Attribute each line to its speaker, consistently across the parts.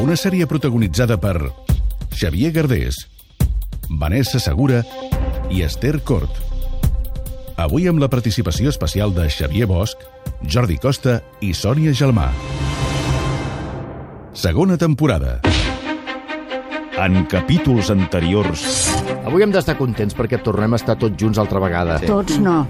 Speaker 1: Una sèrie protagonitzada per Xavier Gardés, Vanessa Segura i Esther Cort. Avui amb la participació especial de Xavier Bosch, Jordi Costa i Sònia Gelmà. Segona temporada.
Speaker 2: En capítols anteriors...
Speaker 3: Avui hem d'estar contents perquè tornem a estar tots junts altra vegada. Sí.
Speaker 4: Tots no.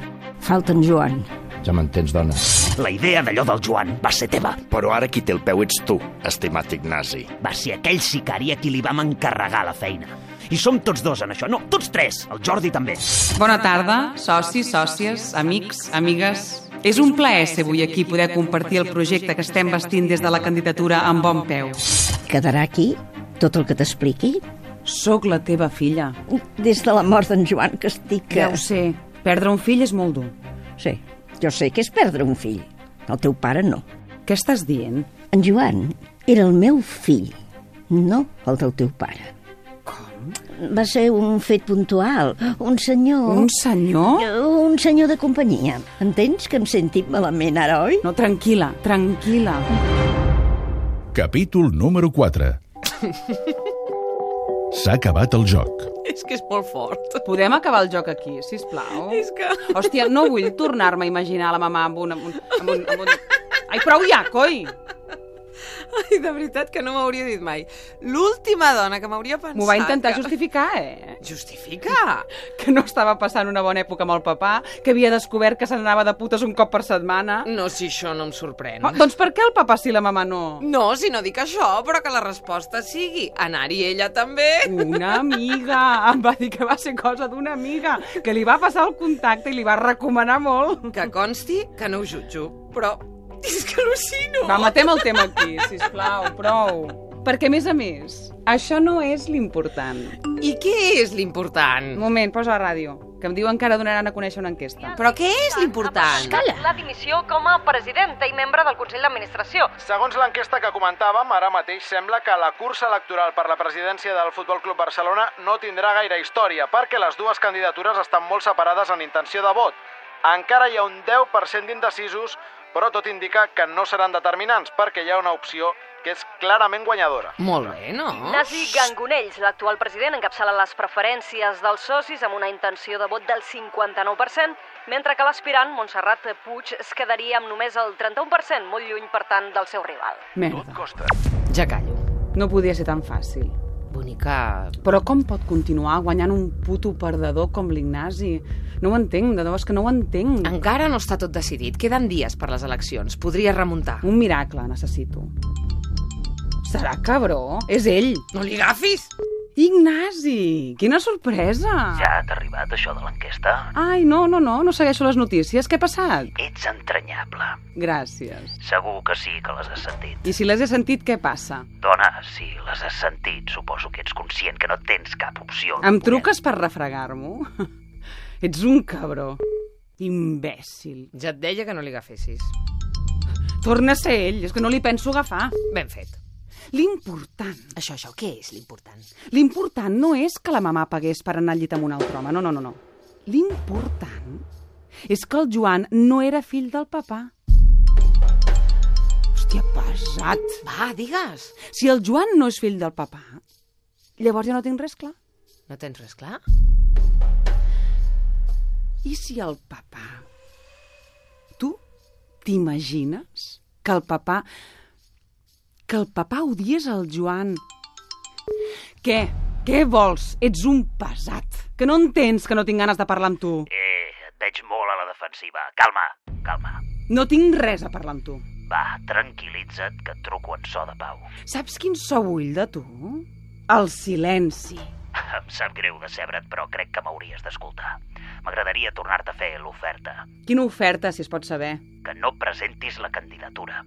Speaker 4: Falta en Joan.
Speaker 3: Ja m'entens, dona.
Speaker 5: La idea d'allò del Joan va ser teva.
Speaker 6: Però ara qui té el peu ets tu, estimat Ignasi.
Speaker 5: Va ser aquell sicari a qui li vam encarregar la feina. I som tots dos en això. No, tots tres. El Jordi també.
Speaker 7: Bona tarda, socis, sòcies, amics, amigues. És un plaer ser avui aquí poder compartir el projecte que estem vestint des de la candidatura amb bon peu.
Speaker 4: Quedarà aquí tot el que t'expliqui?
Speaker 8: Soc la teva filla.
Speaker 4: Des de la mort d'en Joan que estic... eh,
Speaker 8: Que... Ja ho sé. Perdre un fill és molt dur.
Speaker 4: Sí, jo sé que és perdre un fill. El teu pare no.
Speaker 8: Què estàs dient?
Speaker 4: En Joan era el meu fill, no el del teu pare. Com? Va ser un fet puntual. Un senyor...
Speaker 9: Oh.
Speaker 8: Un senyor?
Speaker 4: Un senyor de companyia. Entens que em sentim malament ara, oi?
Speaker 8: No, tranquil·la, tranquil·la.
Speaker 1: Capítol número 4. S'ha acabat el joc.
Speaker 9: És que és molt fort.
Speaker 7: Podem acabar el joc aquí, si plau.
Speaker 9: És que...
Speaker 7: Hòstia, no vull tornar-me a imaginar la mamà amb un... Amb un, amb un, amb un... Ai, prou ja, coi!
Speaker 9: Ai, de veritat que no m'hauria dit mai. L'última dona que m'hauria pensat...
Speaker 7: M'ho va intentar
Speaker 9: que...
Speaker 7: justificar, eh?
Speaker 9: Justifica!
Speaker 7: Que no estava passant una bona època amb el papà, que havia descobert que se n'anava de putes un cop per setmana...
Speaker 9: No, si això no em sorprèn.
Speaker 7: Oh, doncs per què el papà sí, la mamà no?
Speaker 9: No, si no dic això, però que la resposta sigui anar-hi ella també.
Speaker 7: Una amiga! Em va dir que va ser cosa d'una amiga, que li va passar el contacte i li va recomanar molt.
Speaker 9: Que consti que no ho jutjo, però és que al·lucino.
Speaker 7: Va, matem el tema aquí, si plau, prou. Perquè, a més a més, això no és l'important.
Speaker 9: I què és l'important?
Speaker 7: Un moment, posa la ràdio, que em diuen que ara donaran a conèixer una enquesta.
Speaker 9: Però què és l'important?
Speaker 10: Calla. La dimissió com a presidenta i membre del Consell d'Administració.
Speaker 11: Segons l'enquesta que comentàvem, ara mateix sembla que la cursa electoral per la presidència del Futbol Club Barcelona no tindrà gaire història, perquè les dues candidatures estan molt separades en intenció de vot. Encara hi ha un 10% d'indecisos, però tot indica que no seran determinants perquè hi ha una opció que és clarament guanyadora.
Speaker 9: Molt bé, no?
Speaker 10: Nasi Gangonells, l'actual president, encapçala les preferències dels socis amb una intenció de vot del 59%, mentre que l'aspirant, Montserrat Puig, es quedaria amb només el 31%, molt lluny, per tant, del seu rival.
Speaker 11: Tot
Speaker 7: Merda,
Speaker 11: costa.
Speaker 9: Ja callo.
Speaker 7: no podia ser tan fàcil.
Speaker 9: Bonica...
Speaker 7: Però com pot continuar guanyant un puto perdedor com l'Ignasi? No ho entenc, de debò és que no ho entenc.
Speaker 9: Encara no està tot decidit. Queden dies per les eleccions. Podria remuntar.
Speaker 7: Un miracle necessito. Serà cabró? És ell!
Speaker 9: No li agafis!
Speaker 7: Ignasi! Quina sorpresa!
Speaker 5: Ja t'ha arribat això de l'enquesta?
Speaker 7: Ai, no, no, no, no segueixo les notícies. Què ha passat?
Speaker 5: Ets entranyable.
Speaker 7: Gràcies.
Speaker 5: Segur que sí que les has sentit.
Speaker 7: I si les he sentit, què passa?
Speaker 5: Dona, si les has sentit, suposo que ets conscient que no tens cap opció.
Speaker 7: Em truques per refregar-m'ho? Ets un cabró. Imbècil.
Speaker 9: Ja et deia que no li agafessis.
Speaker 7: Torna a ser ell, és que no li penso agafar.
Speaker 9: Ben fet.
Speaker 7: L'important,
Speaker 9: Això, això, què és l'important?
Speaker 7: l'important no és que la mamà pagués per anar al llit amb un altre home, no, no, no, no. L'important és que el Joan no era fill del papà. Hòstia, pesat!
Speaker 9: Va, digues.
Speaker 7: Si el Joan no és fill del papà, llavors ja no tinc res clar.
Speaker 9: No tens res clar?
Speaker 7: I si el papà... Tu t'imagines que el papà... que el papà odies el Joan? Què? Què vols? Ets un pesat. Que no entens que no tinc ganes de parlar amb tu.
Speaker 5: Eh, et veig molt a la defensiva. Calma, calma.
Speaker 7: No tinc res a parlar amb tu.
Speaker 5: Va, tranquil·litza't, que et truco en so de pau.
Speaker 7: Saps quin so vull de tu? El silenci.
Speaker 5: Em sap greu decebre't, però crec que m'hauries d'escoltar. M'agradaria tornar-te a fer l'oferta.
Speaker 7: Quina oferta, si es pot saber.
Speaker 5: Que no presentis la candidatura.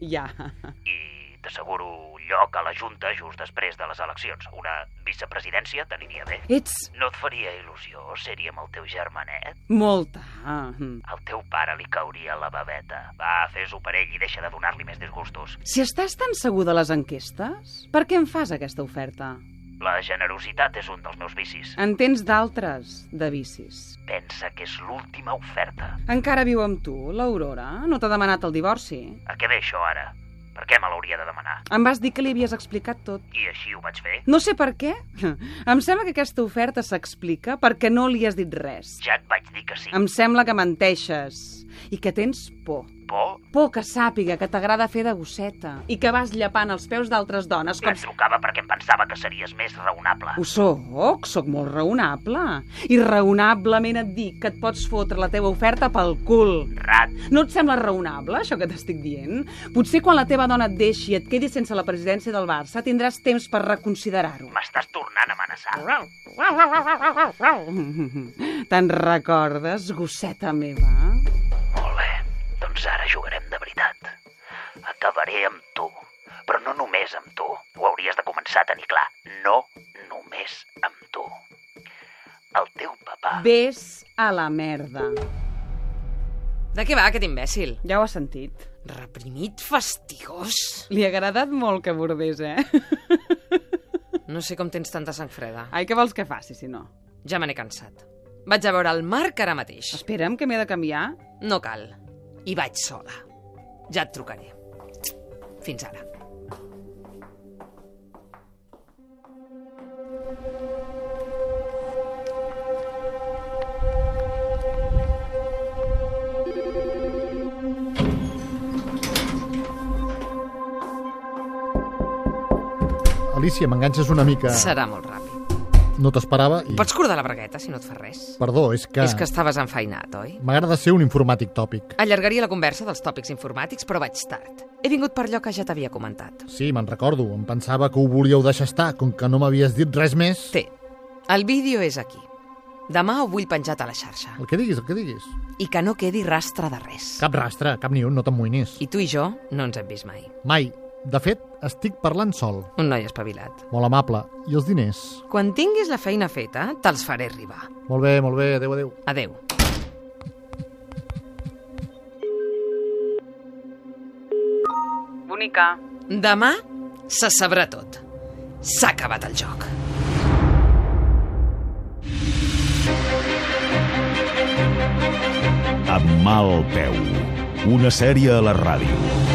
Speaker 7: Ja.
Speaker 5: I T'asseguro lloc a la Junta just després de les eleccions. Una vicepresidència t'aniria bé?
Speaker 7: Ets-
Speaker 5: No et faria il·lusió ser-hi amb el teu germanet?
Speaker 7: Molta. Ah, mm.
Speaker 5: Al teu pare li cauria la babeta. Va, fes-ho per ell i deixa de donar-li més disgustos.
Speaker 7: Si estàs tan segur de les enquestes, per què em fas aquesta oferta?
Speaker 5: La generositat és un dels meus vicis.
Speaker 7: En tens d'altres, de vicis.
Speaker 5: Pensa que és l'última oferta.
Speaker 7: Encara viu amb tu, l'Aurora? No t'ha demanat el divorci?
Speaker 5: A què ve això ara? Per què me l'hauria de demanar?
Speaker 7: Em vas dir que li havies explicat tot.
Speaker 5: I així ho vaig fer?
Speaker 7: No sé per què. Em sembla que aquesta oferta s'explica perquè no li has dit res.
Speaker 5: Ja et vaig dir que sí.
Speaker 7: Em sembla que menteixes i que tens por.
Speaker 5: Por?
Speaker 7: Por que sàpiga que t'agrada fer de gosseta i que vas llapant els peus d'altres dones com...
Speaker 5: Et trucava perquè em pensava que series més raonable.
Speaker 7: Ho soc, soc molt raonable. I raonablement et dic que et pots fotre la teva oferta pel cul.
Speaker 5: Rat.
Speaker 7: No et sembla raonable, això que t'estic dient? Potser quan la teva dona et deixi i et quedi sense la presidència del Barça, tindràs temps per reconsiderar-ho.
Speaker 5: M'estàs tornant a amenaçar.
Speaker 7: Te'n recordes, gosseta meva?
Speaker 5: Molt bé, doncs ara jugarem de veritat. Acabaré amb tu, però no només amb tu. Ho hauries de començar a tenir clar. No només amb tu. El teu papà...
Speaker 7: Ves a la merda.
Speaker 9: De què va, aquest imbècil?
Speaker 7: Ja ho has sentit.
Speaker 9: Reprimit fastigós.
Speaker 7: Li ha agradat molt que bordés, eh?
Speaker 9: No sé com tens tanta sang freda.
Speaker 7: Ai, què vols que faci, si no?
Speaker 9: Ja me n'he cansat. Vaig a veure el Marc ara mateix.
Speaker 7: Espera'm, que m'he de canviar.
Speaker 9: No cal. I vaig sola. Ja et trucaré. Fins ara.
Speaker 11: Alicia, m'enganxes una mica.
Speaker 9: Serà molt ràpid.
Speaker 11: No t'esperava i...
Speaker 9: Pots cordar la bragueta, si no et fa res.
Speaker 11: Perdó, és que...
Speaker 9: És que estaves enfeinat, oi?
Speaker 11: M'agrada ser un informàtic tòpic.
Speaker 9: Allargaria la conversa dels tòpics informàtics, però vaig tard. He vingut per allò que ja t'havia comentat.
Speaker 11: Sí, me'n recordo. Em pensava que ho volíeu deixar estar, com que no m'havies dit res més.
Speaker 9: Té. El vídeo és aquí. Demà ho vull penjat a la xarxa.
Speaker 11: El que diguis, el que diguis.
Speaker 9: I que no quedi rastre de res.
Speaker 11: Cap rastre, cap ni un, no t'amoïnis.
Speaker 9: I tu i jo no ens hem vist mai.
Speaker 11: Mai. De fet, estic parlant sol.
Speaker 9: Un noi espavilat.
Speaker 11: Molt amable. I els diners?
Speaker 9: Quan tinguis la feina feta, te'ls faré arribar.
Speaker 11: Molt bé, molt bé. Adéu, adéu.
Speaker 9: Adeu.
Speaker 7: Bonica.
Speaker 9: Demà se sabrà tot. S'ha acabat el joc.
Speaker 2: Amb mal peu. Una sèrie a la ràdio.